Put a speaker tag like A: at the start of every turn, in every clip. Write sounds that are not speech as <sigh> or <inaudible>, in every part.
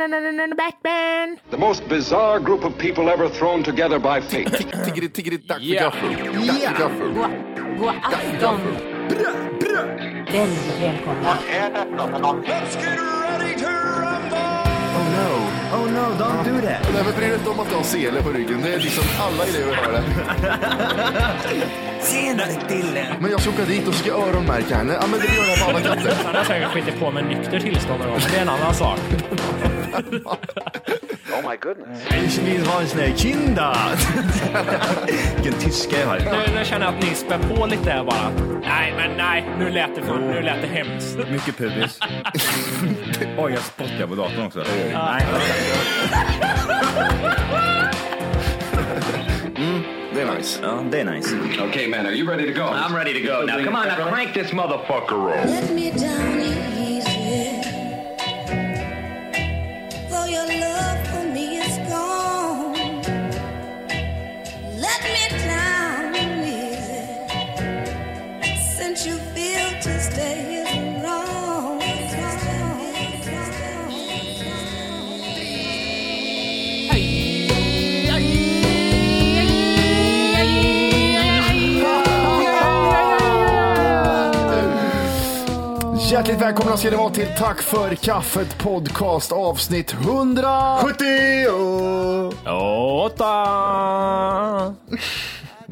A: Batman!
B: The most bizarre group of people ever thrown together by
C: <laughs>
B: fate.
D: Tiggeri, tiggeri, dack för
E: Ja.
D: gaffel. Dack för gaffel.
A: God, god afton! Väldigt välkomna.
F: Oh no, oh no, don't do that.
D: Nej, men bry dig inte om att jag har sele på ryggen. Det är liksom alla elever har
F: <laughs>
D: det.
F: Senare Dille.
D: Men jag ska åka dit och ska öronmärka henne. Ja, men det gör jag på alla katter.
E: Han har säkert skitit på med nykter tillstånd då, men det är en annan sak.
C: Oh,
F: Ich will ha en sån här kinda. Vilken tyska jag har.
E: Nu, nu känner jag att ni spär på lite där bara. Nej, men nej, nu lät det, för, nu lät det hemskt.
G: Mycket pubis. <laughs> Oj, jag spottar på datorn också.
D: Det är nice.
G: Ja, det är nice.
B: okay, man, are you ready to go?
G: I'm ready to go now. Come on, now crank this motherfucker up.
H: Let me down easy. Though your love for me is gone. Let me down easy. Since you feel to stay is wrong.
D: Hjärtligt välkomna ska ni vara till Tack för kaffet podcast avsnitt 100.
F: 70!
E: Åtta!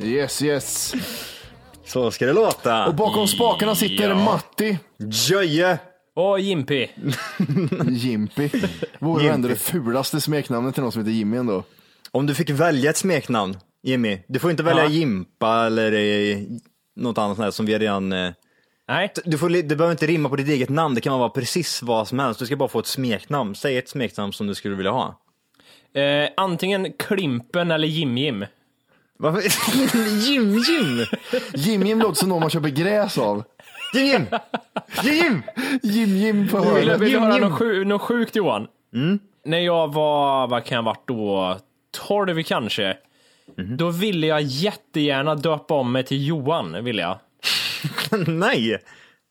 D: Yes, yes.
F: Så ska det låta.
D: Och bakom spakarna sitter Matti
F: Jöje.
E: Och Jimpy.
D: Jimpy. Vore ju ändå det
F: Jimpy.
D: fulaste smeknamnet till någon som heter Jimmy ändå.
F: Om du fick välja ett smeknamn, Jimmy. Du får inte välja
E: Ja.
F: Jimpa eller eh, något annat sånt här som vi redan... eh,
E: Nej,
F: Du, får, li- det behöver inte rimma på ditt eget namn, det kan vara precis vad som helst. Du ska bara få ett smeknamn. Säg ett smeknamn som du skulle vilja ha.
E: eh, antingen Klimpen eller Jim-Jim.
F: Varför? <laughs> Jim, Jim!
D: Jim-Jim låter som någon man köper gräs av.
F: Jim, Jim! <laughs> Jim, Jim!
D: Jim-Jim på
E: Vill,
D: hörnet.
E: vill du höra
F: Jim-Jim.
E: något, sju, något sjukt Johan? När jag var, vad kan jag ha varit då, 12 kanske. Då ville jag jättegärna döpa om mig till Johan, ville jag.
F: Nej!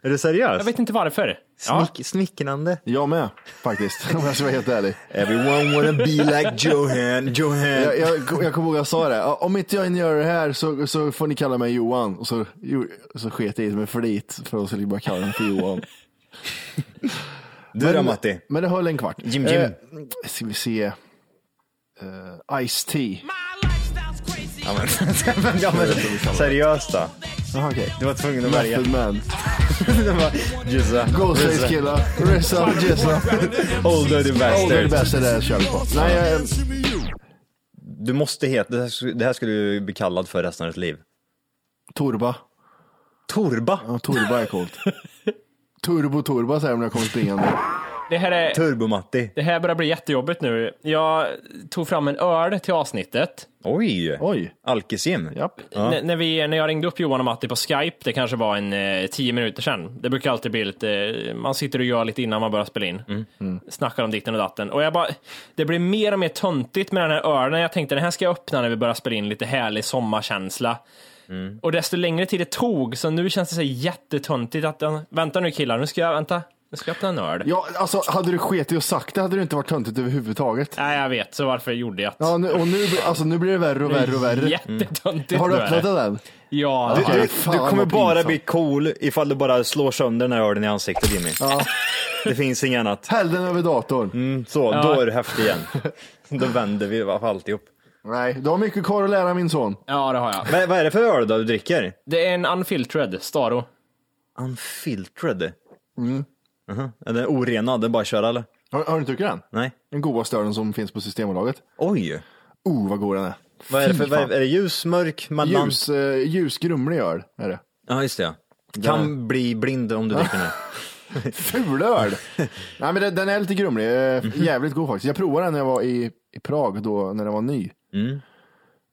F: Är du seriös?
E: Jag vet inte varför. Ja.
F: Snick, Snickrande.
D: Jag med faktiskt, <laughs> om jag ska vara helt ärlig.
F: Everyone wanna be like Johan, Johan.
D: Jag, jag, jag kommer ihåg jag sa det, Ja, om inte jag gör det här så, så får ni kalla mig Johan. Och så, jo- så sket jag i det med flit för att skulle bara kalla mig för
F: <laughs>
D: Johan.
F: du då Matti?
D: Men det höll en kvart.
F: Jim, Jim.
D: Eh, ska vi se. Eh, Ice-T.
F: ja, men, seriöst då?
D: Jaha, okej.
F: Du var tvungen att välja.
D: Method Man.
F: <laughs> Det var- Jizza.
D: Ghostface
F: Jizza.
D: Killa. Ressa. Jessa.
F: Old Dirty
D: Oh, det är det
F: Bastard.
D: bästa det här kör vi på. Nej, jag,
F: Du måste heta, det här sk- det här ska du bli kallad för resten av ditt liv.
D: Torba.
F: Torba.
D: Ja, Torba är coolt. Turbo Torba säger jag om jag kommer springande.
E: Det, här är,
F: Turbo-Matti.
E: det här börjar bli jättejobbigt nu. Jag tog fram en öl till avsnittet.
F: Oj!
D: Oj.
F: Alkisim.
D: Japp.
E: N- När, vi, när jag ringde upp Johan och Matti på Skype, det kanske var en eh, tio minuter sedan. Det brukar alltid bli lite, eh, man sitter och gör lite innan man börjar spela in. Snackar om ditten och datten. Och jag bara, det blir mer och mer töntigt med den här ölen. Jag tänkte den här ska jag öppna när vi börjar spela in, lite härlig sommarkänsla. Och desto längre tid det tog, så nu känns det så jättetöntigt att, den- vänta nu killar, nu ska jag, vänta, nu ska jag öppna en öl.
D: Ja, alltså hade du skitit och sagt det hade det inte varit töntigt överhuvudtaget.
E: Nej, jag vet, så varför gjorde jag det?
D: Ja, nu, och nu, alltså, nu blir det värre och värre och värre.
E: Jättetöntigt.
D: Har du
E: nu är
D: öppnat
E: det.
D: den än?
E: Ja.
F: Du,
D: Ja,
F: du,
D: fan,
F: du kommer
D: vad
F: bara
D: pinsamt.
F: bli cool ifall du bara slår sönder den här ölen i ansiktet Jimmy. Det finns inget annat.
D: Häll den över datorn.
F: Så,
E: Ja.
F: då är du häftig igen. Då vänder vi va- alltihop.
D: Nej, du har mycket kvar att lära min son.
E: ja, det har jag.
F: Vad, vad är det för öl då du dricker?
E: Det är en unfiltered Staro.
F: Unfiltered. Mm. Är den orenad? Den bara kör eller?
D: Har, har du inte druckit den?
F: Nej.
D: Den godaste ölen som finns på Systembolaget.
F: Oj!
D: Oh, vad god den är.
F: Vad är det för,
D: Fy
F: vad är,
D: fan.
F: är det ljus, mörk, mellan?
D: Ljus, eh, ljus grumlig öl är det.
F: Ja, just det. ja. Kan bli blind om du dricker den.
D: Fulöl! Nej men den, den är lite grumlig, eh, jävligt god faktiskt. Jag provade den när jag var i, i Prag då, när den var ny.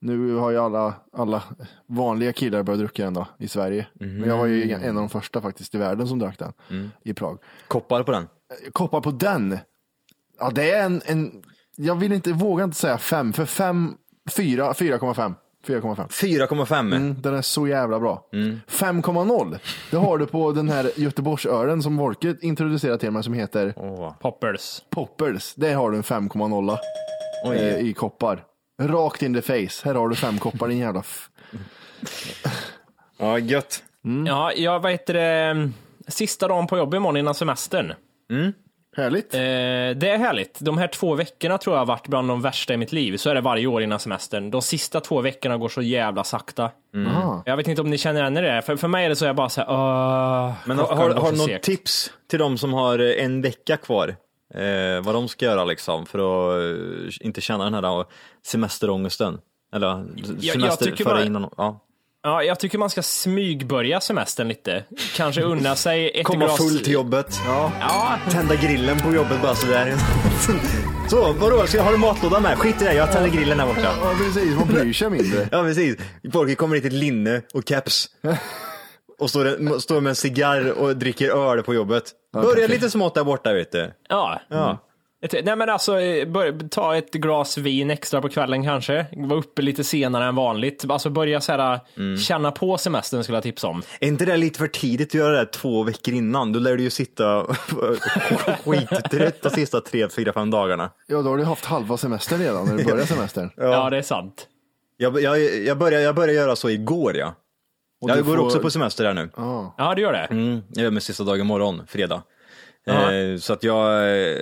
D: Nu har ju alla, alla vanliga killar börjat dricka den då, i Sverige. Men jag var ju en av de första faktiskt i världen som drack den i Prag.
F: Koppar på den.
D: Koppar på den, ja det är en, en jag vill inte, vågar inte säga fem, för fem, fyra, 4,5. 4,5.
F: 4,5.
D: Mm, den är så jävla bra. 5,0. Det har du på den här Göteborgsören som Wolke introducerar till mig som heter
E: Poppers.
D: Poppers. Där har du en 5,0 eh, i koppar. Rakt in the face. Här har du fem koppar din jävla... F-
F: Ja, gött. Mm.
E: Ja, jag vad heter det? mm, Sista dagen på jobb imorgon innan semestern.
D: Härligt.
E: Eh, det är härligt. De här två veckorna tror jag har varit bland de värsta i mitt liv. Så är det varje år innan semestern. De sista två veckorna går så jävla sakta.
F: Mm.
E: Mm.
D: Ah.
E: Jag vet inte om ni känner igen er i det. För, för mig är det så jag bara såhär, åh.
F: Men har,
E: klockan
F: har,
E: går
F: har
E: så
F: du något
E: segt."
F: tips till de som har eh, en vecka kvar? Eh, vad de ska göra liksom för att eh, inte känna den här eh, semesterångesten? Eller
E: jag
F: semester
E: tycker
F: före
E: bara-
F: innan. Ja.
E: Ja, jag tycker man ska smygbörja semestern lite. Kanske unna sig ett
F: Komma
E: glas...
F: full till jobbet.
E: Ja,
F: Tända grillen på jobbet bara sådär. <laughs> Så, vadå, ska jag ha en matlåda med? Skit i det, jag tänder grillen här borta.
D: Ja, precis. Man bryr sig mindre.
F: Ja precis. Folk kommer hit i linne och caps. Och står, står med en cigarr och dricker öl på jobbet. Börja lite smått där borta vet du.
E: ja.
D: Mm.
F: Ja.
E: Ett- Nej men alltså, eh, bör, ta ett glas vin extra på kvällen kanske. Vara uppe lite senare än vanligt. Alltså börja så här, känna på semestern skulle jag tipsa om.
F: Är inte det lite för tidigt att göra det här två veckor innan? Då lär du ju sitta <laughs> skittrött de sista tre, fyra, fem dagarna.
D: <laughs> Ja, då har du haft halva semestern redan när du börjar semestern.
E: Ja, det är sant.
F: Jag, jag, jag, började, jag började göra så igår ja.
D: Och du
F: Jag går
D: får-
F: också på semester här nu.
E: Ja, du gör det.
F: Mm, jag gör min sista dag imorgon, fredag.
E: Ja.
F: Eh, så att jag, eh,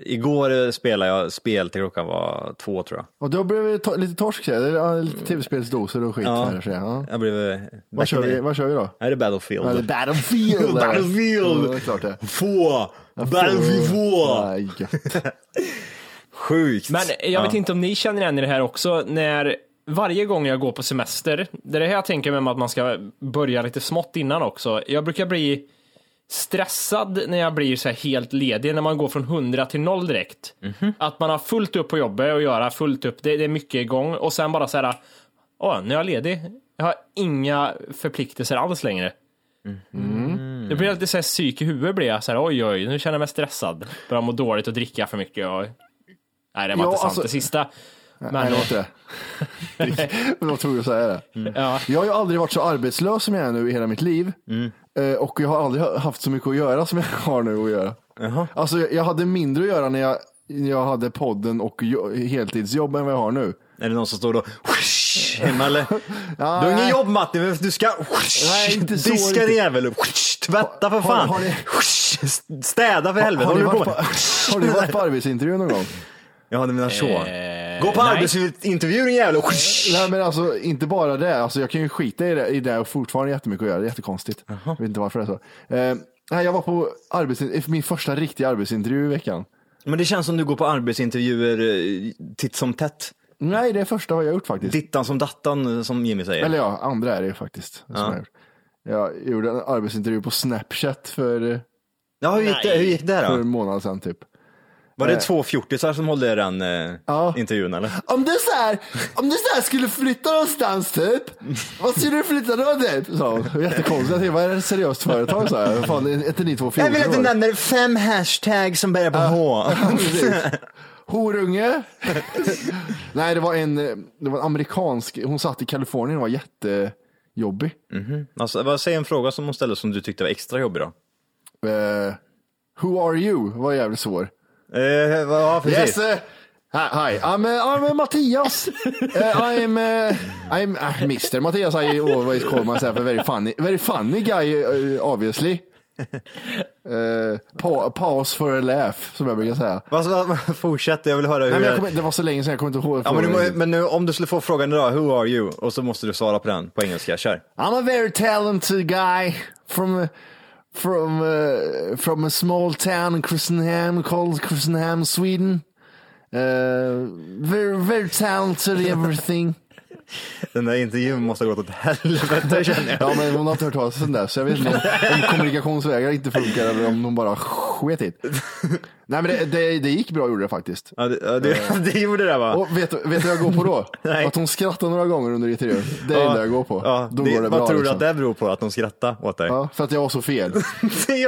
F: igår eh, spelade jag spel till klockan var två tror jag.
D: Och då blir det ta- lite torsk, så här. Det är eh, lite tv-spelsdoser och skit. Här, så här. Ja.
F: Jag blev...
D: Vad, kör vi, vad kör vi då?
F: Är det Battlefield?
D: Ja, det är Battlefield!
F: <laughs> Battlefield!
D: Ja, det är klart det.
F: Få! Battlefield 2!
D: Nej, gött.
F: Sjukt!
E: Men jag vet inte om ni känner igen i det här också, när varje gång jag går på semester, det är det här jag tänker med att man ska börja lite smått innan också. Jag brukar bli stressad när jag blir så här helt ledig, när man går från 100 till 0 direkt. Att man har fullt upp på jobbet att göra, fullt upp, det, det är mycket igång och sen bara så här, åh, nu är jag ledig. Jag har inga förpliktelser alls längre.
D: Mm.
E: Det blir lite så här psyk i huvudet blir jag så här, oj oj, nu känner jag mig stressad. Börjar må dåligt och dricka för mycket och... Nej, det var
D: Ja,
E: inte sant
D: alltså-
E: det sista. Men,
D: Nej, det var inte det. Vad tror du säga det?
E: ja.
D: Jag har ju aldrig varit så arbetslös som jag är nu i hela mitt liv.
F: Mm.
D: Eh, Och jag har aldrig haft så mycket att göra som jag har nu att göra. Alltså jag jag hade mindre att göra när jag, när jag hade podden och jo- heltidsjobb än vad jag har nu.
F: Är det någon som står då <laughs> hemma eller? du har
D: nej.
F: inget jobb Matti, men du ska
D: Nej, inte så
F: diska din
D: riktigt.
F: jävel. <laughs> Tvätta för
D: Har-
F: fan.
D: har ni-
F: <laughs> Städa för helvete.
D: har,
F: håller
D: ni
F: du på
D: varit på,
F: med?
D: <laughs> har ni varit på
F: <laughs>
D: arbetsintervju någon gång?
F: Ja, du menar så. Gå på
E: Eh, nej.
F: arbetsintervju din jävel.
D: Nej men alltså inte bara det, alltså, jag kan ju skita i det, i det och fortfarande jättemycket att göra, det är jättekonstigt. Jag vet inte varför det är så. Eh, nej, jag var på arbetsin- min första riktiga arbetsintervju i veckan.
F: Men det känns som du går på arbetsintervjuer eh, titt som tätt.
D: Nej, det är första vad jag har gjort faktiskt.
F: Dittan som dattan eh, som Jimmy säger.
D: Eller ja, andra är det ju faktiskt. som jag har gjort. Jag gjorde en arbetsintervju på Snapchat för,
F: Ja, hur gick det, hur gick det
D: för
F: då?
D: en månad sedan typ.
F: Var det två fjortisar som höll i den eh,
D: Ja.
F: intervjun eller?
D: Om du så här, om du så här skulle flytta någonstans typ, vad skulle du flytta då typ? Sa hon. Jättekonstigt, jag tänkte, vad är det ett seriöst företag? Så här? Fan, inte ni två
F: Jag vill att du
D: fjorton år?
F: nämner fem hashtags som börjar på <laughs> H.
D: Precis. <laughs> Horunge. Nej, det var, en, det var en amerikansk, hon satt i Kalifornien och var jättejobbig.
F: Alltså, vad säger en fråga som hon ställde som du tyckte var extra jobbig då?
D: Eh, who are you? var jävligt svår.
F: Eh, ja, precis.
D: Yes. eh, hi, hi. I'm, eh, I'm eh, Mattias. Eh, I'm, eh, I'm eh, Mr. Mattias. I always call myself a very funny, very funny guy, eh, obviously. Uh, pa pause for a laugh, som jag brukar säga.
F: Vad- vad- fortsätt, jag vill höra hur...
D: Nej, men jag kommer- det var så länge sedan jag kommer inte ihåg.
F: ja, men, du,
D: frågan.
F: må- men nu, om du skulle få frågan idag, who are you? Och så måste du svara på den på engelska, kör.
D: I'm a very talented guy from from uh, from a small town in Christenham called Christenham, Sweden. Uh, very very talented in everything.
F: Den där intervjun måste ha gått åt helvete känner jag.
D: Ja men hon har inte hört talas om det så jag vet inte om kommunikationsvägar inte funkar eller om hon bara sket i det. Nej men det, det, det gick bra gjorde det faktiskt.
F: Ja, det, ja,
D: Eh.
F: det, <laughs> det gjorde det va?
D: Och vet, du- vet du vad jag går på då?
F: Nej.
D: Att hon skrattar några gånger under intervjun. Det är det
F: Ja,
D: enda jag går på.
F: Ja,
D: Då
F: det,
D: går det
F: vad
D: bra.
F: tror du
D: liksom.
F: att det beror på? Att de skrattar åt dig? Ja,
D: Ja, för att jag var så fel.
F: <laughs>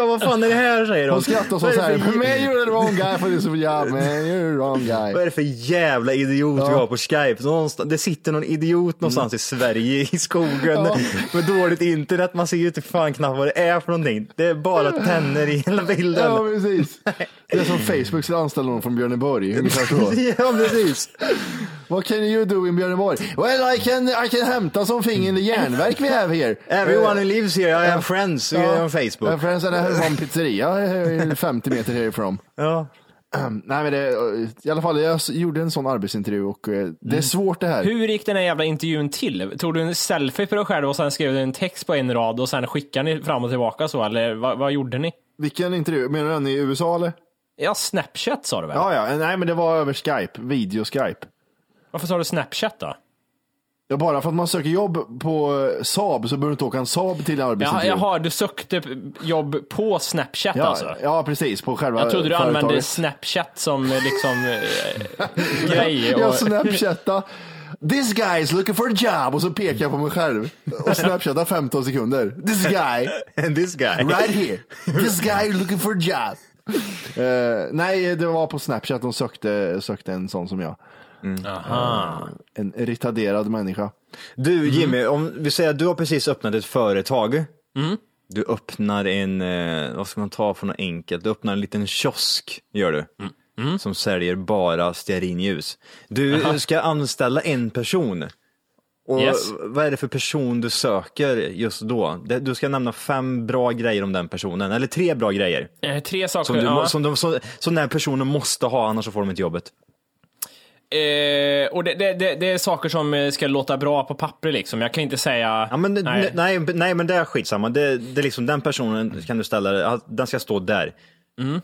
F: vad fan är det här säger de?
D: Hon skrattar och sa
F: Vad är
D: såhär,
F: det för-
D: man you're the wrong guy for this job, man you're the wrong
F: Vad är
D: guy.
F: det för jävla idiot vi
D: Ja. Mm.
F: har på Skype? Någonstans, det sitter någon idiot någonstans i Sverige i skogen
D: Ja.
F: med dåligt internet. Man ser ju inte fan knappt vad det är för någonting. Det är bara tänder i hela bilden.
D: Ja precis. Det är som Facebook skulle anställa någon från Björneborg, ungefär så.
F: <laughs> Ja, precis.
D: What can you do in Björneborg? Well I can, I can hämta something in the järnverk we have here.
F: Everyone who
D: Eh,
F: lives here, I have friends on
D: Ja,
F: Facebook.
D: friends and I <laughs> have one pizzeria eh, 50 meter härifrån.
F: Ja. <laughs>
D: Nej men det, i alla fall jag gjorde en sån arbetsintervju och eh, det är svårt det här.
E: Hur gick den här jävla intervjun till? Tog du en selfie på dig själv och sen skrev du en text på en rad och sen skickade ni fram och tillbaka så, eller vad, vad gjorde ni?
D: Vilken intervju? Menar du den i USA eller?
E: Ja, Snapchat sa du väl?
D: Ja, ja. Nej men det var över Skype, video-Skype.
E: Varför sa du Snapchat då?
D: Ja, bara för att man söker jobb på eh, Saab så behöver du inte åka en Saab till en
E: Jaha,
D: arbetsintervju.
E: jaha, du sökte p- jobb på Snapchat
D: ja,
E: alltså?
D: ja, precis. På själva
E: Jag trodde du
D: företaget.
E: använde Snapchat som eh, liksom eh,
D: <laughs>
E: grej.
D: Jag
E: Och...
D: snapchatta. This guy is looking for a job och så pekar jag på mig själv och snapchattar 15 sekunder. This guy,
F: And this guy.
D: right here. This guy is looking for a job. Eh, nej, det var på Snapchat de sökte, sökte en sån som jag.
F: Mm.
D: Eh, En retarderad människa.
E: Mm.
F: Du Jimmy, om vi säger att du har precis öppnat ett företag.
E: Mm.
F: Du öppnar en, eh, vad ska man ta för något enkelt? Du öppnar en liten kiosk, gör du.
E: Mm.
F: Som säljer bara stearinljus. Du ska anställa en person. Och
E: Yes.
F: Vad är det för person du söker just då? Det- Du ska nämna fem bra grejer om den personen, eller tre bra grejer.
E: Eh, Tre saker.
F: Som, du,
E: ja.
F: må- som, de, som, som den här personen måste ha, annars så får de inte jobbet.
E: Eh, och det, det, det, det är saker som eh, ska låta bra på papper liksom. Jag kan inte säga...
F: Ja, men,
E: nej.
F: nej. Nej, nej, men det är skitsamma. Det, det är liksom, den personen kan du ställa, att den ska stå där.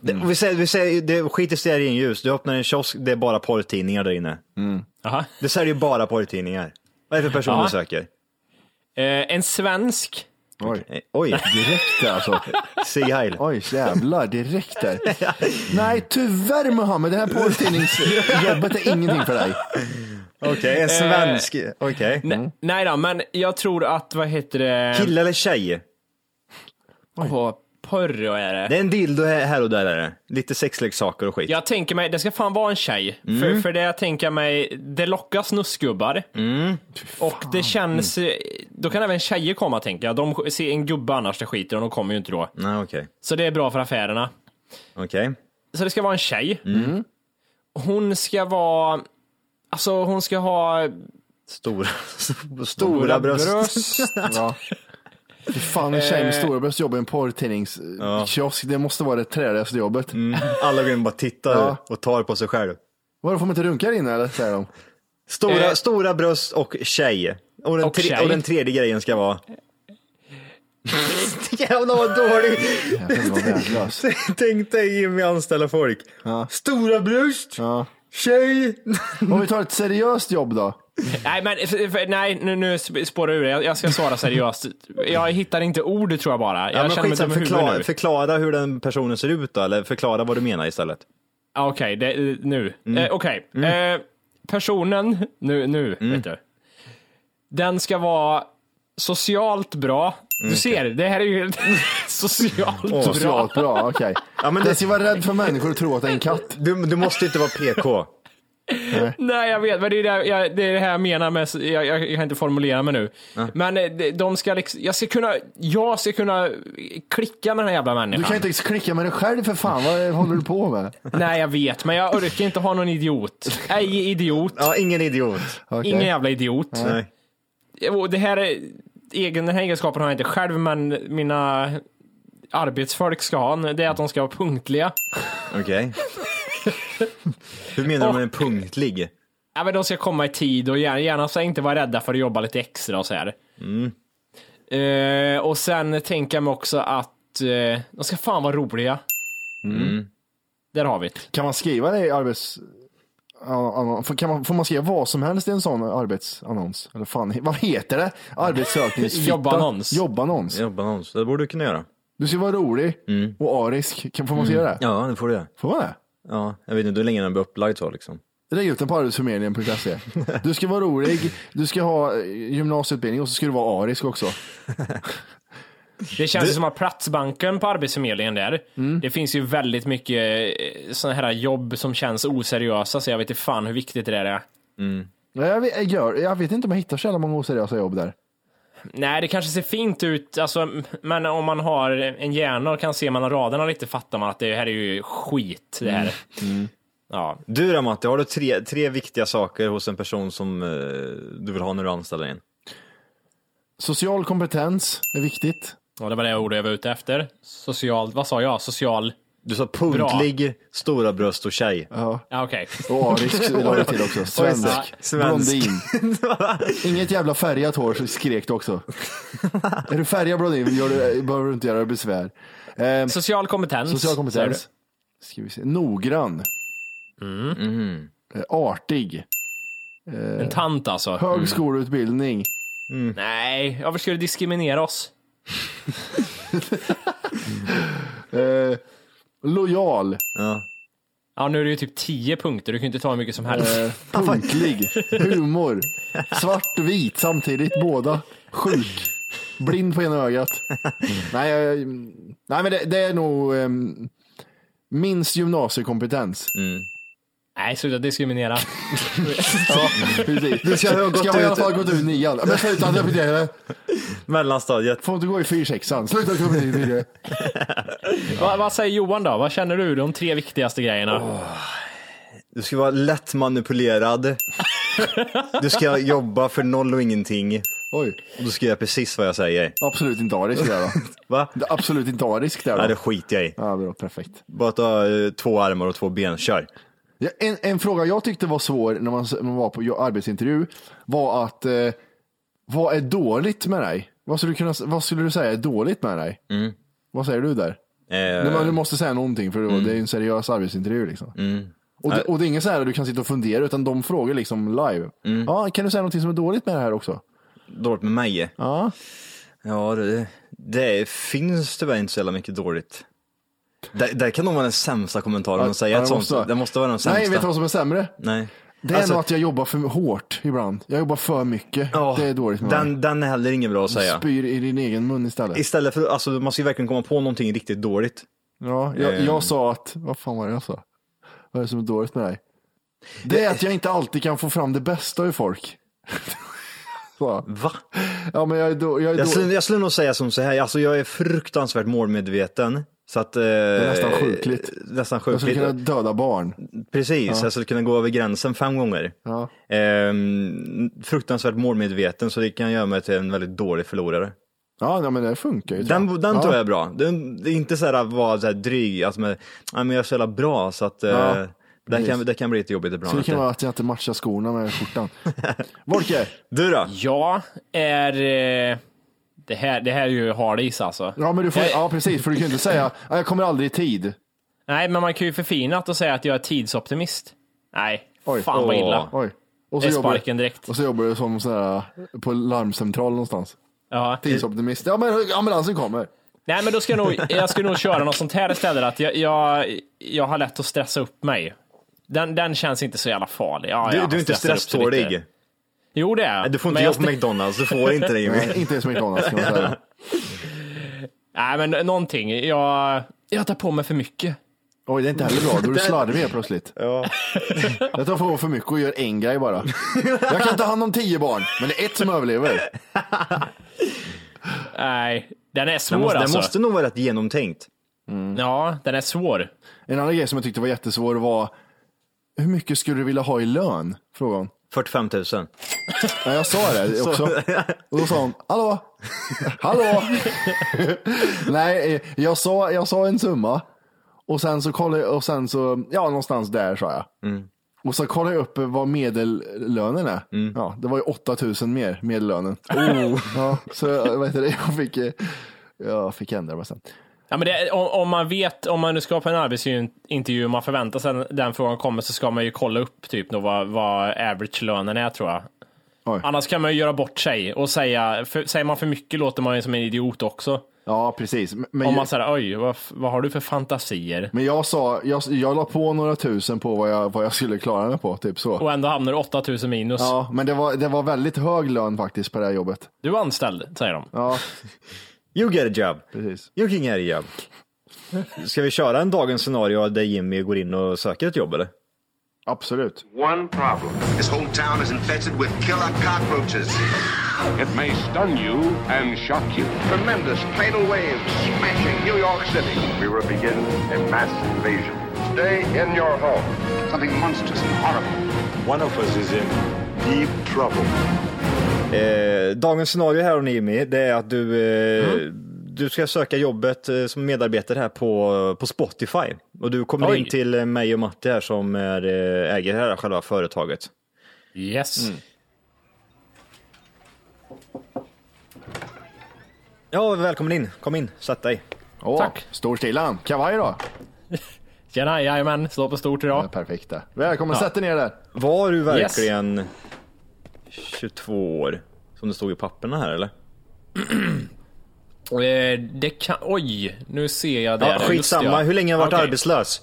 F: Det, och vi säger, vi säger det, skit i stearinljus, du öppnar en kiosk, det är bara porrtidningar där inne.
E: Jaha.
F: Det säljer ju bara porrtidningar. Vad är det för person
E: Ja.
F: du söker?
E: Eh, en svensk.
F: Eh, <laughs> Oj,
D: Direkt där alltså.
F: Sieg Heil.
D: Oj jävlar, direkt där. Nej tyvärr Mohammed, det här porrtidningsjobbet är ingenting för dig.
F: Okej, Eh, en svensk. Okej.
E: N- nej då, men jag tror att, vad heter det?
F: Kille eller tjej?
E: På porr är det.
F: Det är en dildo här här och där. Är det. Lite sexleksaker och skit.
E: Jag tänker mig, det ska fan vara en tjej. För, för det jag tänker mig, det lockar snuskgubbar. Och det känns, eh, då kan även tjejer komma tänker jag. De sk- ser en gubbe annars, det skiter de, de kommer ju inte då.
F: Nej, okej.
E: Så det är bra för affärerna.
F: Okej.
E: Så det ska vara en tjej. Hon ska vara, alltså hon ska ha
F: Stora, <laughs> stora bröst.
D: Ja. Fy fan en tjej med stora bröst jobbar i en porrtidningskiosk. Det måste vara det träligaste jobbet.
F: Mm. Alla går in och bara tittar
D: Ja.
F: och tar på sig själv.
D: Varför får man inte runka där inne eller? Säger de.
F: Stora,
E: Eh.
F: stora bröst och tjej. Och den,
E: Och
F: tre,
E: tjej.
F: och den tredje grejen ska
E: <laughs>
F: vara... Jävlar vad dålig!
D: Jävlar, vad alltså. värdelös.
F: Tänk dig Jimmy anställa folk. Stora bröst,
D: Ja.
F: tjej.
D: Om vi tar ett seriöst jobb då.
E: Nej, men för, för, nej, nu, nu sp- spårar du ur. Jag, jag ska svara seriöst. Jag hittar inte ord tror jag bara. Jag
F: Ja, men
E: känner mig dum
F: skitsamma,
E: i huvudet
F: förklara,
E: nu.
F: förklara hur den personen ser ut då, eller förklara vad du menar istället.
E: Ja, Okej, det- eh, nu.
F: Mm.
E: Eh, Okej. Eh, personen, nu, nu
F: Mm.
E: vet du. Den ska vara socialt bra.
F: Mm,
E: Du ser, det här är ju <laughs> socialt bra.
D: Socialt
F: <laughs>
D: bra, okej.
F: Ja, men
D: Den
F: det,
D: ska vara rädd för människor och tro att det är en katt.
F: du, du måste inte vara <laughs> PK.
E: Nej, jag vet, men det är det, jag, det, är det här jag menar med, jag, jag, jag kan inte formulera mig nu. Men eh, de- de ska liksom, jag ska kunna, jag ska kunna eh, klicka med den här jävla människan.
D: Du kan ju inte ens klicka med dig själv för fan. Vad håller du på med?
E: Nej, jag vet, men jag orkar inte ha någon idiot. Ej idiot.
F: Ja, ingen idiot.
D: Okej.
E: Ingen jävla idiot.
F: Nej.
E: Och det här är, egen, den här egenskapen har jag inte själv, men mina arbetsfolk ska ha en. Det är att de ska vara punktliga.
F: Okej.
E: <laughs>
F: hur menar du med en punktlig?
E: Ja, men de ska komma i tid och gärna, gärna så inte vara rädda för att jobba lite extra och så här. Eh, och sen tänker jag mig också att eh, de ska fan vara roliga. Där har vi det.
D: Kan man skriva det i arbets... an- an- får- Kan man, får man skriva vad som helst i en sån arbetsannons? <laughs> Eller fan, vad heter det? Arbetssökningsfitta?
E: Jobbannons.
D: Jobbannons.
F: Jobbannons, det borde du kunna göra.
D: Du ska vara rolig och arisk. Kan, får man säga det?
F: Ja, det får du göra.
D: Får man det?
F: Ja, jag vet inte hur länge den blir upplagd så liksom.
D: Lägg ut den på arbetsförmedlingen.se. E. Du ska vara rolig, du ska ha eh, gymnasieutbildning och så ska du vara arisk också.
E: Det känns ju som att platsbanken på Arbetsförmedlingen där, det finns ju väldigt mycket sådana här jobb som känns oseriösa, så jag vet inte fan hur viktigt det där är.
F: Mm.
D: Ja, Jag vet, jag, gör, jag vet inte om jag hittar så jävla många oseriösa jobb där.
E: Nej, det kanske ser fint ut, alltså, men om man har en hjärna och kan se mellan raderna lite fattar man att det här är ju skit. Det här. Ja.
F: Du då Matte, har du tre, tre viktiga saker hos en person som eh, du vill ha när du anställer en?
D: Social kompetens är viktigt.
E: ja, det var det ordet jag var ute efter. Social, vad sa jag? Social...
F: Du sa punktlig, stora bröst och tjej.
E: Ja, okej.
D: Och arisk la du till också. Svensk.
F: Svensk.
D: Blondin. Inget jävla färgat hår så skrek du också. är du färgad blondin gör du, behöver du inte göra besvär. Eh,
E: Social kompetens.
D: social
E: säger du.
D: kompetens. Ska vi se. Noggrann.
F: Mm.
D: Eh, artig.
E: En tant alltså.
D: Högskoleutbildning.
E: Nej, varför ska du diskriminera oss?
D: Eh, lojal.
E: Ja, nu är det ju typ 10 punkter, du kan ju inte ta hur mycket som helst.
D: Eh, punktlig. Humor. Svart och vit samtidigt, båda. Sjuk. Blind på ena ögat. Nej, jag, nej men det, det är nog ehm, minst gymnasiekompetens.
E: Nej, sluta diskriminera.
D: Ja, precis.
F: Mm. Du ska ha gått
D: Ska man i alla
F: ut-
D: fall gått ut nian? Men sluta att repetera det.
F: Mellanstadiet.
D: Får inte gå i fyrsexan. Sluta att repetera
E: Va, vad säger Johan då? Vad känner du? De tre viktigaste grejerna.
F: Du ska vara lätt manipulerad. Du ska jobba för noll och ingenting.
D: Oj,
F: Och du ska göra precis vad jag säger.
D: absolut inte arisk där då.
F: Va? <laughs>
D: Det är Absolut inte arisk där
F: Nej, det
D: då.
F: skiter jag i.
D: Ja, bra, perfekt.
F: Bara att du har eh, två armar och två ben, kör.
D: Ja, en, en fråga jag tyckte var svår när man, när man var på jo- arbetsintervju var att eh, vad är dåligt med dig? Vad skulle, du kunna, vad skulle du säga är dåligt med dig? Vad säger du där? Nej, men
F: Mm. Eh, Mm.
D: du måste säga någonting för det är ju en seriös arbetsintervju. Liksom. Och, det, och det är inget så här att du kan sitta och fundera utan de frågar liksom live.
F: Mm.
D: Ja, kan du säga någonting som är dåligt med det här också?
F: dåligt med mig?
D: Ja.
F: Ja, det, det finns tyvärr inte så jävla mycket dåligt. Där, där kan nog vara den sämsta kommentaren att säga.
D: Ja,
F: ett
D: det
F: sånt, det måste vara den sämsta.
D: Nej, vet du vad som är sämre?
F: Nej. Alltså,
D: Det är nog att jag jobbar för hårt ibland. Jag jobbar för mycket.
F: ja,
D: det är dåligt med mig.
F: den, den är heller ingen bra att säga.
D: Spyr i din egen mun istället.
F: Istället för, alltså man ska ju verkligen komma på någonting riktigt dåligt.
D: Ja, jag,
F: Ehm.
D: jag sa att, vad fan var det jag sa? Vad är det som är dåligt med dig? Det är att jag inte alltid kan få fram det bästa ur folk. <laughs> Så. <laughs>
F: Va?
D: Ja, men jag är, då, jag är
F: Jag
D: då,
F: skulle, jag skulle nog säga som så här, alltså jag är fruktansvärt målmedveten. Så att, eh, det är
D: nästan sjukligt.
F: Nästan
D: jag skulle
F: sjukligt.
D: kunna döda barn.
F: Precis, jag skulle kunna gå över gränsen fem gånger.
D: Ja.
F: Ehm, fruktansvärt målmedveten, så det kan göra mig till en väldigt dålig förlorare.
D: Ja, nej, men det funkar ju. tror
F: Den,
D: jag.
F: den
D: ja.
F: tror jag är bra. Den, det är inte så här att vara så här dryg, alltså med, "Nej, men jag är så jävla bra så att eh,
D: Ja,
F: det,
D: precis.
F: kan, det kan bli lite jobbigt ibland.
D: Så det kan vara att jag inte matchar skorna med
F: <laughs>
D: skjortan. Volke,
F: Du då?
E: Jag är... eh, Det här, det här är ju hardis alltså.
D: ja, men du får, ja precis, för du kan ju inte säga, "Ja, jag kommer aldrig i tid.
E: Nej, men man kan ju förfina det och säga att jag är tidsoptimist. Nej,
D: Oj.
E: fan vad illa.
D: Oj. Och
E: Det är
D: jobbar-
E: sparken direkt.
D: och så jobbar du som sån här, på larmcentral någonstans.
E: Ja.
D: Tidsoptimist. Ja, men ambulansen kommer.
E: Nej, men då ska jag nog, jag ska nog köra något sånt här istället. Att jag, jag, jag har lätt att stressa upp mig. Den, den känns inte så jävla farlig. Ja,
F: Du,
E: ja,
F: du är inte
E: stressar upp sig lite.
F: stresstålig.
E: Jo, det är jag.
F: Nej, Du får inte
E: Men jag
F: jobba på McDonalds, du får inte
E: <laughs>
F: det Jimmy.
D: Nej, inte ens McDonalds kan man säga. <laughs>
E: Nej, men någonting. Jag, jag tar på mig för mycket.
D: Oj, det är inte heller bra. Då är du slarvig helt plötsligt. <laughs> Jag tar på för mycket och gör en grej bara. Jag kan ta hand om tio barn, men det är ett som överlever.
E: Nej, den är svår
F: Det måste, det
E: alltså.
F: måste nog vara rätt genomtänkt.
E: Ja, den är svår.
D: En annan grej som jag tyckte var jättesvår var, hur mycket skulle du vilja ha i lön? Frågade hon.
F: 45 000.
D: Ja, jag sa det också. Och då sa hon, hallå, hallå. Nej, eh, jag sa, jag sa en summa och sen så kollade jag, och sen så, ja någonstans där sa jag. Och så kollade jag upp vad medellönen är. Ja, det var ju 8000 mer, medellönen. <laughs> Ja, så vad heter det, jag fick, eh, jag fick ändra mig sen.
E: Ja, men det, om, om man vet, om man nu ska på en arbetsintervju och man förväntar sig att den frågan kommer så ska man ju kolla upp typ då vad, vad average-lönen är tror jag.
D: Oj.
E: Annars kan man ju göra bort sig och säga, för, säger man för mycket låter man ju som en idiot också.
D: Ja, precis. Men- Men,
E: Om man säger oj, vad, f- vad har du för fantasier?
D: men jag sa, jag, jag la på några tusen på vad jag, vad jag skulle klara mig på, typ så.
E: Och ändå hamnar du 8000 minus.
D: Ja, men det var, det var väldigt hög lön faktiskt på det här jobbet.
E: Du är anställd, säger de.
D: Ja,
F: You get a job.
D: precis.
F: You can get a job. Ska vi köra en dagens scenario där Jimmy går in och söker ett jobb eller?
D: Absolut.
C: One problem. This whole town is infested with killer cockroaches.
B: It may stun you and shock you.
C: Tremendous tidal waves smashing New York City. We will begin a mass invasion. Stay in your home. Something monstrous and horrible.
I: One of us is in deep trouble.
F: Eh, dagens scenario här om Jimmy, det är att du, eh, du ska söka jobbet eh, som medarbetare här på, på Spotify. Och du kommer
E: Oj.
F: in till eh, mig och Matti här som är, eh, äger här själva företaget. Mm.
E: Yes.
F: Ja, välkommen in. Kom in, sätt dig.
D: Åh,
E: Tack.
D: Stor stilan. Kavaj då?
E: Tjena, jajamän, slå på stort
D: Ja,
E: idag.
D: perfekt. där. Välkommen, sätt dig ner där.
F: Var du verkligen 22 år? Som det stod i papperna här eller?
E: Eh, Det kan... Oj, nu ser jag det.
F: Ja,
E: Just det,
F: skitsamma, hur länge har du varit
E: Okej.
F: arbetslös?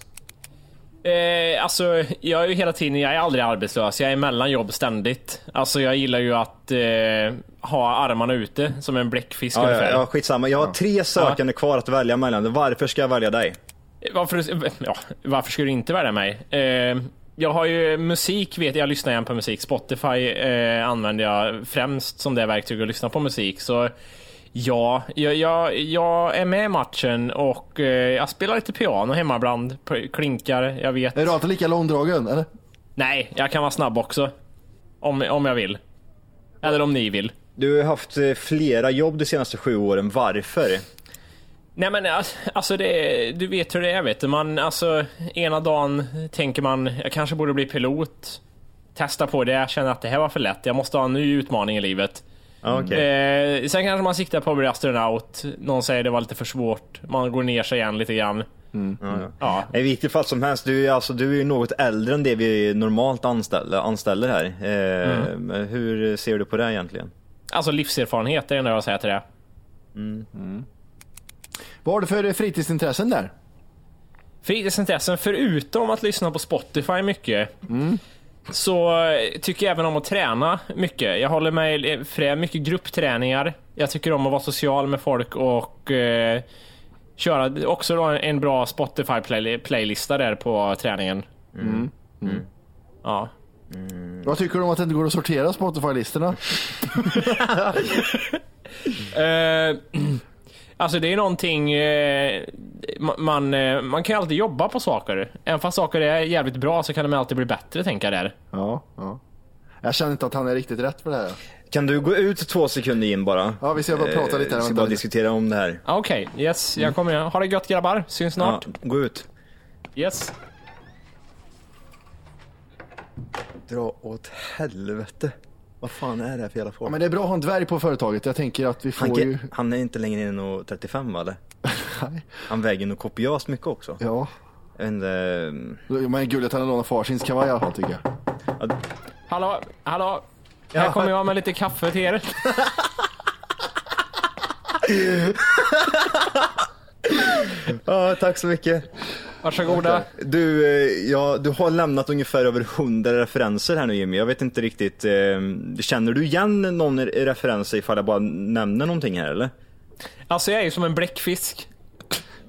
E: Eh, alltså, jag är ju hela tiden, jag är aldrig arbetslös. Jag är mellan jobb ständigt. Alltså, jag gillar ju att eh, ha armarna ute som en bläckfisk
F: Ja, ja,
E: ungefär.
F: ja, skitsamma. Jag har tre sökande kvar att välja mellan. Varför ska jag välja dig?
E: Varför, ja, varför skulle du inte välja mig? Eh, jag har ju musik, vet jag, jag lyssnar igen på musik. Spotify eh, använder jag främst som det verktyg att lyssna på musik. Så ja, jag, jag, jag är med i matchen och eh, jag spelar lite piano hemma ibland. P- Klinkar, jag vet.
D: Är raten lika långdragen? Eller?
E: Nej, jag kan vara snabb också. Om, om jag vill. Eller om ni vill.
F: Du har haft eh, flera jobb de senaste sju åren. Varför?
E: Nej men ass- alltså det, är- du vet hur det är vet du. Man, alltså, ena dagen tänker man, jag kanske borde bli pilot. Testa på det, jag känner att det här var för lätt. Jag måste ha en ny utmaning i livet.
F: Ja, Okej.
E: Eh, sen kanske man siktar på att bli astronaut. Någon säger det var lite för svårt. Man går ner sig igen lite grann. Ja.
F: I vilket fall som helst, du är, alltså, du är ju något äldre än det vi normalt anställer, anställer här. Eh,
D: Mm.
F: men Hur ser du på det egentligen?
E: Alltså livserfarenhet är det enda jag säger till det.
D: Vad har du för fritidsintressen där?
E: Fritidsintressen, förutom att lyssna på Spotify mycket, så eh, tycker jag även om att träna mycket. Jag håller mig eh, frä, mycket gruppträningar. Jag tycker om att vara social med folk och eh, köra också då en bra Spotify-playlista där på träningen. Mm. Ja.
D: Vad tycker du om att det inte går att sortera Spotify-listorna?
E: Eh, <clears throat> alltså det är någonting eh, ma- man, eh, man kan ju alltid jobba på saker. Även fast saker är jävligt bra så kan de alltid bli bättre tänker jag där.
D: Ja, ja. Jag känner inte att han är riktigt rätt för det här.
F: Kan du gå ut två sekunder in bara? Eh,
D: Ja, vi ska bara prata lite här,
F: Vi ska
D: vänta
F: bara
D: lite.
F: diskutera om det här.
E: Ah, Okej, yes, jag kommer igen. Ha det gött grabbar, syns
F: Ja,
E: snart.
F: gå ut.
E: Yes.
F: Dra åt helvete. Vad fan är det här för jävla
D: Ja,
F: folk?
D: men det är bra att ha en dvärg på företaget. Jag tänker att vi får
F: han,
D: ju... <laughs>
F: han är inte längre än nog 35 va eller?
D: Nej.
F: Han väger nog kopiöst mycket också.
D: Ja.
F: Jag vet inte... eh,
D: Men gulligt att han lånar farsins kavaj i alla fall tycker jag.
E: Hallå, hallå. Här kommer jag med lite kaffe till er.
F: Ja, tack så mycket.
E: Varsågoda.
F: Du, eh, ja, du har lämnat ungefär över 100 referenser här nu Jimmy. Jag vet inte riktigt, eh, känner du igen någon re- referens ifall jag bara nämner någonting här eller?
E: Alltså jag är ju som en bläckfisk.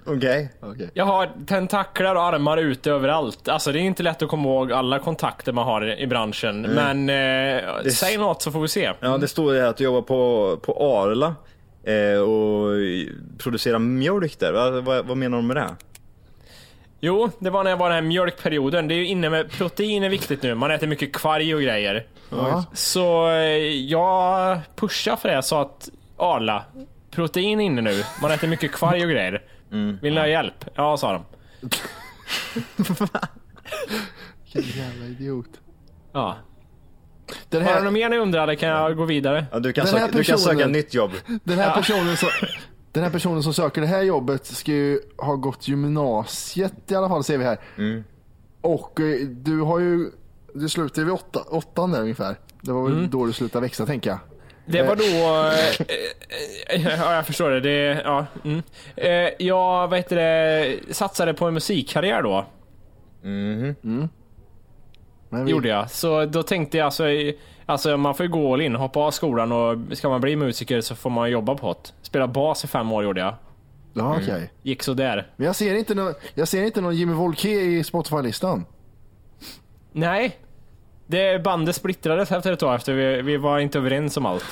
F: Okej.
D: Okej.
E: Jag har tentaklar och armar ute överallt. Alltså det är inte lätt att komma ihåg alla kontakter man har i branschen. Men eh, säg något så får vi se.
F: Ja, det står ju här att du jobbar på, på Arla eh, och producerar mjölk där. Vad, vad, vad menar du med det?
E: Jo, det var när jag var i den här mjölkperioden. Det är ju inne med protein är viktigt nu. Man äter mycket kvarg och grejer.
D: Ja.
E: Så eh, jag pushar för det. Jag sa att Arla, protein är inne nu. Man äter mycket kvarg och grejer. Vill ni ha hjälp? Ja, sa de.
D: Vilken jävla idiot.
E: Ja.
D: Den
E: Har ni något
D: här,
E: mer ni undrar eller kan jag gå vidare?
F: Ja, du, kan
D: Den här
F: söka, du kan söka
D: personen-
F: nytt jobb.
D: den, här personen som, den här personen som söker det här jobbet ska ju ha gått gymnasiet i alla fall ser vi här.
E: Mm.
D: Och eh,
E: Mm.
D: du har ju... Du slutade vid åtta, åttan där ungefär. Det var väl då du slutade växa tänker jag.
E: Det var då... eh, eh, Ja, jag förstår det. det ja, mm. Eh, Jag vad heter det, satsade på en musikkarriär då.
D: Men vi-
E: Gjorde jag. Så då tänkte jag alltså... i- Alltså man får ju gå all in, hoppa av skolan och ska man bli musiker så får man jobba på det. Spela bas i fem år gjorde jag. Mm.
D: Ja, okej.
E: Gick så där.
D: Men jag ser inte någon, jag ser inte någon Jimmy Wolke i Spotify-listan.
E: Nej. Det bandet splittrades efter ett tag efter vi, vi var inte överens om allt.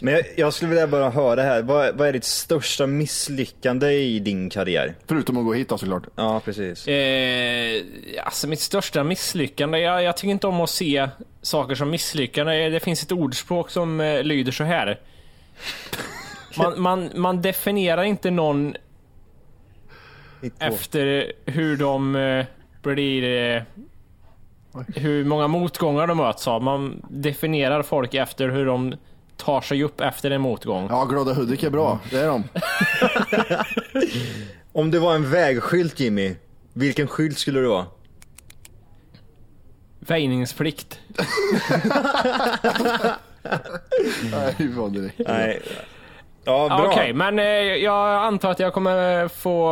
F: Men jag, jag skulle vilja bara höra här, vad, vad är ditt största misslyckande i din karriär?
D: Förutom att gå hit då såklart.
F: Ja, precis.
E: Eh, alltså mitt största misslyckande. Jag, jag tycker inte om att se saker som misslyckande. Eh, Det finns ett ordspråk som eh, lyder så här. Man, man, man definierar inte någon efter hur de eh, blir... Eh, hur många motgångar de möts av. Man definierar folk efter hur de tar sig upp efter en motgång.
D: Ja, Glada Hudik är bra. Det
E: <laughs>
D: är de.
F: Om det var en vägskylt Jimmy, vilken skylt skulle det vara?
E: Väjningsplikt.
D: Nej, vad direkt.
F: Nej. Ja, bra.
E: Okej, men eh, jag antar att jag kommer få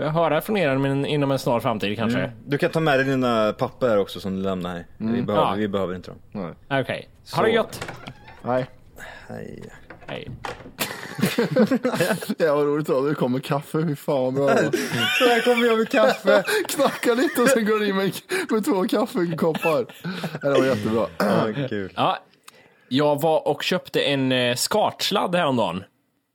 E: eh, höra från er inom- inom en snar framtid kanske.
F: Du kan ta med dig dina papper här också som du lämnar här. Vi, behöver,
E: Ja.
F: vi behöver inte dem.
E: Okej. Ha det
F: Så.
E: gött!
D: Nej.
F: Nej.
E: Hej.
D: Ja, vad roligt det var. Det kommer kaffe. Fy fan vad bra det
E: <laughs>
D: var.
F: Så här kommer jag med kaffe.
D: Knackar lite och sen går det in med, med två kaffekoppar. Det var jättebra. <clears throat>
F: Ja, kul.
E: Ja, jag var och köpte en eh, skartsladd häromdagen.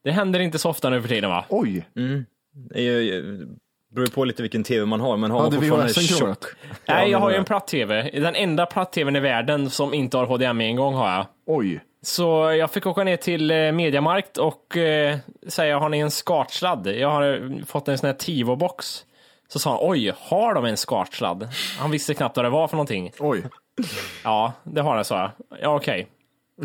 E: Det händer inte så ofta nu för tiden va?
D: Oj,
F: Mm. Det är ju- beror ju på lite vilken tv man har, men har man
D: hade
F: fortfarande en
D: VHSen
F: tjock...
D: krånglat?
E: Nej, jag har ju en platt-tv. Den enda platt-tvn i världen som inte har HDMI-ingång har jag.
D: Oj.
E: Så jag fick åka ner till eh, Mediamarkt och eh, säga, har ni en skartsladd? Jag har eh, fått en sån här Tivo-box. Så sa han, oj, har de en skartsladd? Han visste knappt vad det var för någonting.
D: Oj.
E: Ja, det har jag, sa jag. Ja, okej.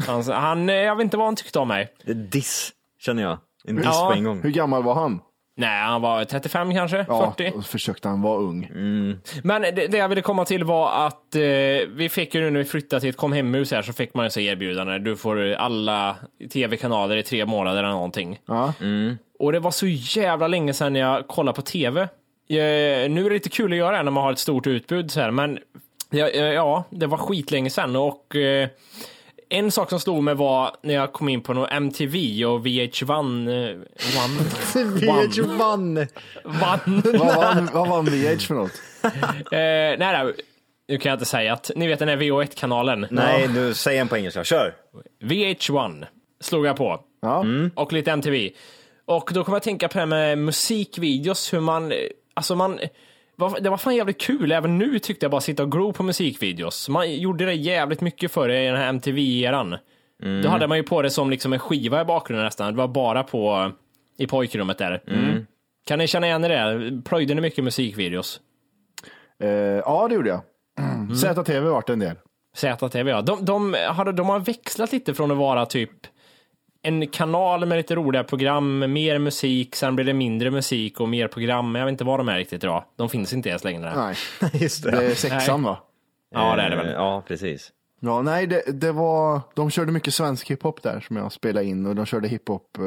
E: Han, han, eh, jag vet inte vad han tyckte om mig.
F: Det är diss, känner jag. En diss
E: Ja.
F: på en gång.
D: Hur gammal var han?
E: Nej, han var 35 kanske, 40.
D: och försökte han vara ung.
F: Mm.
E: Men det, det jag ville komma till var att eh, vi fick ju nu när vi flyttade till ett kom hemhus här så fick man ju så erbjudande. Du får alla tv-kanaler i tre månader eller någonting.
D: Ja.
F: Mm.
E: Och det var så jävla länge sedan jag kollade på tv. Eh, nu är det lite kul att göra det när man har ett stort utbud så här, men ja, eh, ja det var skitlänge sedan och eh, en sak som slog mig var när jag kom in på någon MTV och VH1 eh,
F: VH1!
E: One, one,
D: Vad vann, vad vann VH för något?
E: Eh, nej, nej, nu kan jag inte säga att ni vet den här VH1-kanalen.
F: Nej, nu säg en på engelska. Kör!
E: VH1 slog jag på
D: Ja.
F: Mm.
E: och lite MTV. Och då kom jag att tänka på det här med musikvideos, hur man, eh, alltså man, vad- det var fan jävligt kul, även nu tyckte jag bara sitta och glo på musikvideos. Man gjorde det jävligt mycket förr i den här MTV-eran. Då hade man ju på det som liksom en skiva i bakgrunden nästan, det var bara på, i pojkrummet där. Kan ni känna igen er i det? Plöjde ni mycket musikvideos?
D: Eh, ja, det gjorde jag.
F: Mm.
D: ZTV vart en del.
E: ZTV ja. De, de, har, de har växlat lite från att vara typ en kanal med lite roliga program, mer musik, sen blir det mindre musik och mer program. Jag vet inte vad de är riktigt idag. De finns inte ens längre.
F: <laughs>
D: Nej,
F: Just
D: det är sexan va?
E: Ja, det är det väl.
F: Ja, precis.
D: Ja, nej, det, det var, de körde mycket svensk hiphop där som jag spelade in och de körde hiphop eh,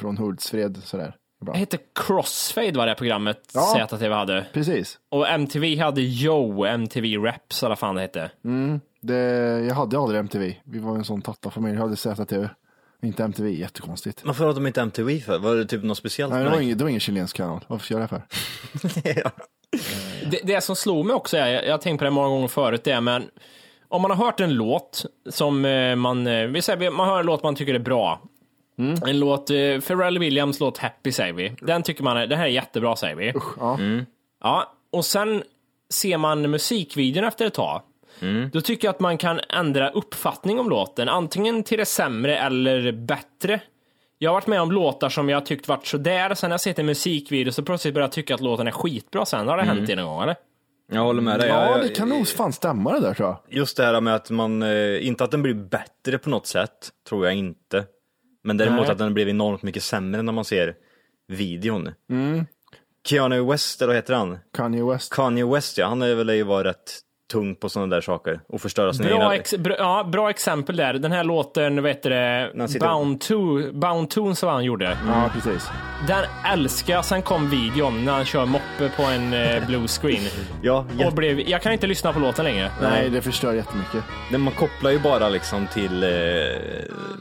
D: från Hultsfred sådär.
E: Det
D: Ibland.
E: hette Crossfade var det programmet
D: Ja.
E: ZTV hade.
D: Precis.
E: Och MTV hade Yo, MTV Raps eller vad fan det hette.
D: Det, jag hade aldrig MTV. Vi var en sån tattarfamilj. Jag hade ZTV. Inte MTV, jättekonstigt.
F: Varför har de inte MTV för? Var det typ något speciellt?
D: Nej,
F: med
D: det var
F: den?
D: ingen, det var ingen chilensk kanal. Varför ska jag göra det för?
F: <laughs> Ja.
E: Det, det som slog mig också, är, jag jag har tänkt på det många gånger förut, det är men om man har hört en låt som eh, man, eh, vi säger, man hör en låt man tycker är bra. En låt, eh, Pharrell Williams låt Happy säger vi. Den tycker man är, det här är jättebra säger vi. Mm.
D: ja.
E: Ja, och sen ser man musikvideon efter ett tag. Då tycker jag att man kan ändra uppfattning om låten, antingen till det sämre eller bättre. Jag har varit med om låtar som jag tyckt varit sådär, sen har jag sett en musikvideo så plötsligt börjar jag tycka att låten är skitbra sen. Har det hänt det någon gång eller?
F: Jag håller med dig.
D: Ja,
F: Jag-
D: det kan nog fan stämma det där tror jag.
F: Just det här med att man, eh, inte att den blir bättre på något sätt, tror jag inte. Men däremot
E: Nej.
F: att den blev enormt mycket sämre när man ser videon.
E: Mm.
F: Keanu West, eller vad heter han?
D: Kanye West.
F: Kanye West ja, han är väl ju vara rätt tung på sådana där saker och förstöra sina
E: Bra,
F: egna...
E: ex, bra, ja, bra exempel där. Den här låten, vad heter
F: Den
E: det?
F: sitter-
E: Bound, to, Bound Tunes vad han gjorde.
D: Ja, precis.
E: Den älskar jag. Sen kom videon när han kör moppe på
J: <laughs>
E: en eh, blue screen.
F: ja,
E: Och
F: jätte...
E: blev, jag kan inte lyssna på låten längre.
D: Nej, det förstör jättemycket.
F: Nej, man kopplar ju bara liksom till eh,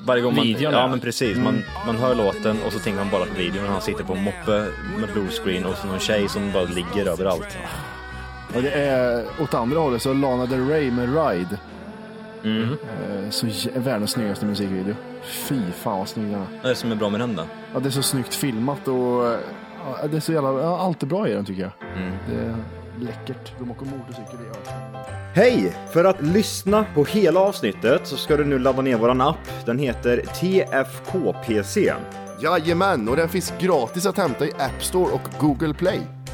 F: varje gång man...
E: Videon,
F: ja,
E: ja. Mm.
F: men precis. Man, man hör låten och så tänker man bara på videon när han sitter på en moppe med bluescreen och så någon tjej som bara ligger överallt.
D: Och det är åt andra hållet så Lana Del Rey med Ride. Eh, Så jä- världens snyggaste musikvideo. Fy fan vad snygg den är.
F: Vad är det som är bra med den då?
D: Ja, det är så snyggt filmat och eh, ja, det är så jävla, ja, allt är bra i den tycker jag. Det är läckert. De åker motorcykel i öknen.
F: Hej! För att lyssna på hela avsnittet så ska du nu ladda ner våran app. Den heter TFKPC.
K: Jajamän, och den finns gratis att hämta i App Store och Google Play.